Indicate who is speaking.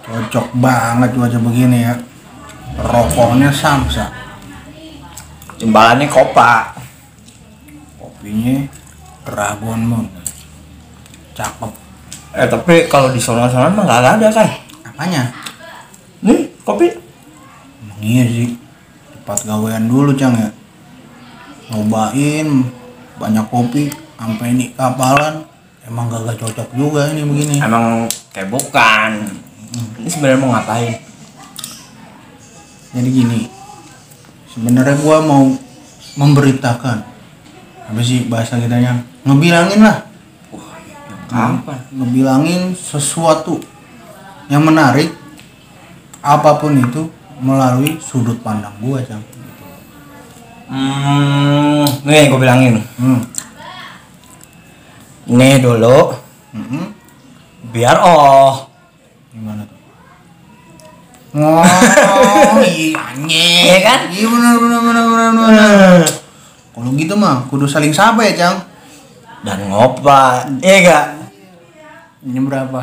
Speaker 1: Cocok banget cuaca begini ya. Rokoknya samsa,
Speaker 2: Jembalannya kopa.
Speaker 1: kopinya Dragon Moon. Cakep.
Speaker 2: Eh tapi kalau di sono-sono mah nggak ada kan?
Speaker 1: Apanya?
Speaker 2: Nih kopi.
Speaker 1: Emang iya sih. Cepat gawean dulu, Cang ya. Nyobain banyak kopi sampai ini kapalan. Emang gak cocok juga ini begini.
Speaker 2: Emang kayak bukan. Ini sebenarnya mau ngapain?
Speaker 1: Jadi gini. Sebenarnya gua mau memberitakan apa sih bahasa kitanya? Ngebilangin lah.
Speaker 2: Wah, apa?
Speaker 1: ngebilangin sesuatu yang menarik apapun itu melalui sudut pandang gue cang
Speaker 2: Hmm, nih gue bilangin.
Speaker 1: hmm.
Speaker 2: Nih dulu,
Speaker 1: Mhm.
Speaker 2: biar oh.
Speaker 1: gimana tuh Oh, iya
Speaker 2: Iya kan?
Speaker 1: Iya bener bener bener bener. bener. Kalau gitu mah kudu saling sapa ya, Cang.
Speaker 2: Dan ngopa, iya gak?
Speaker 1: Ini berapa?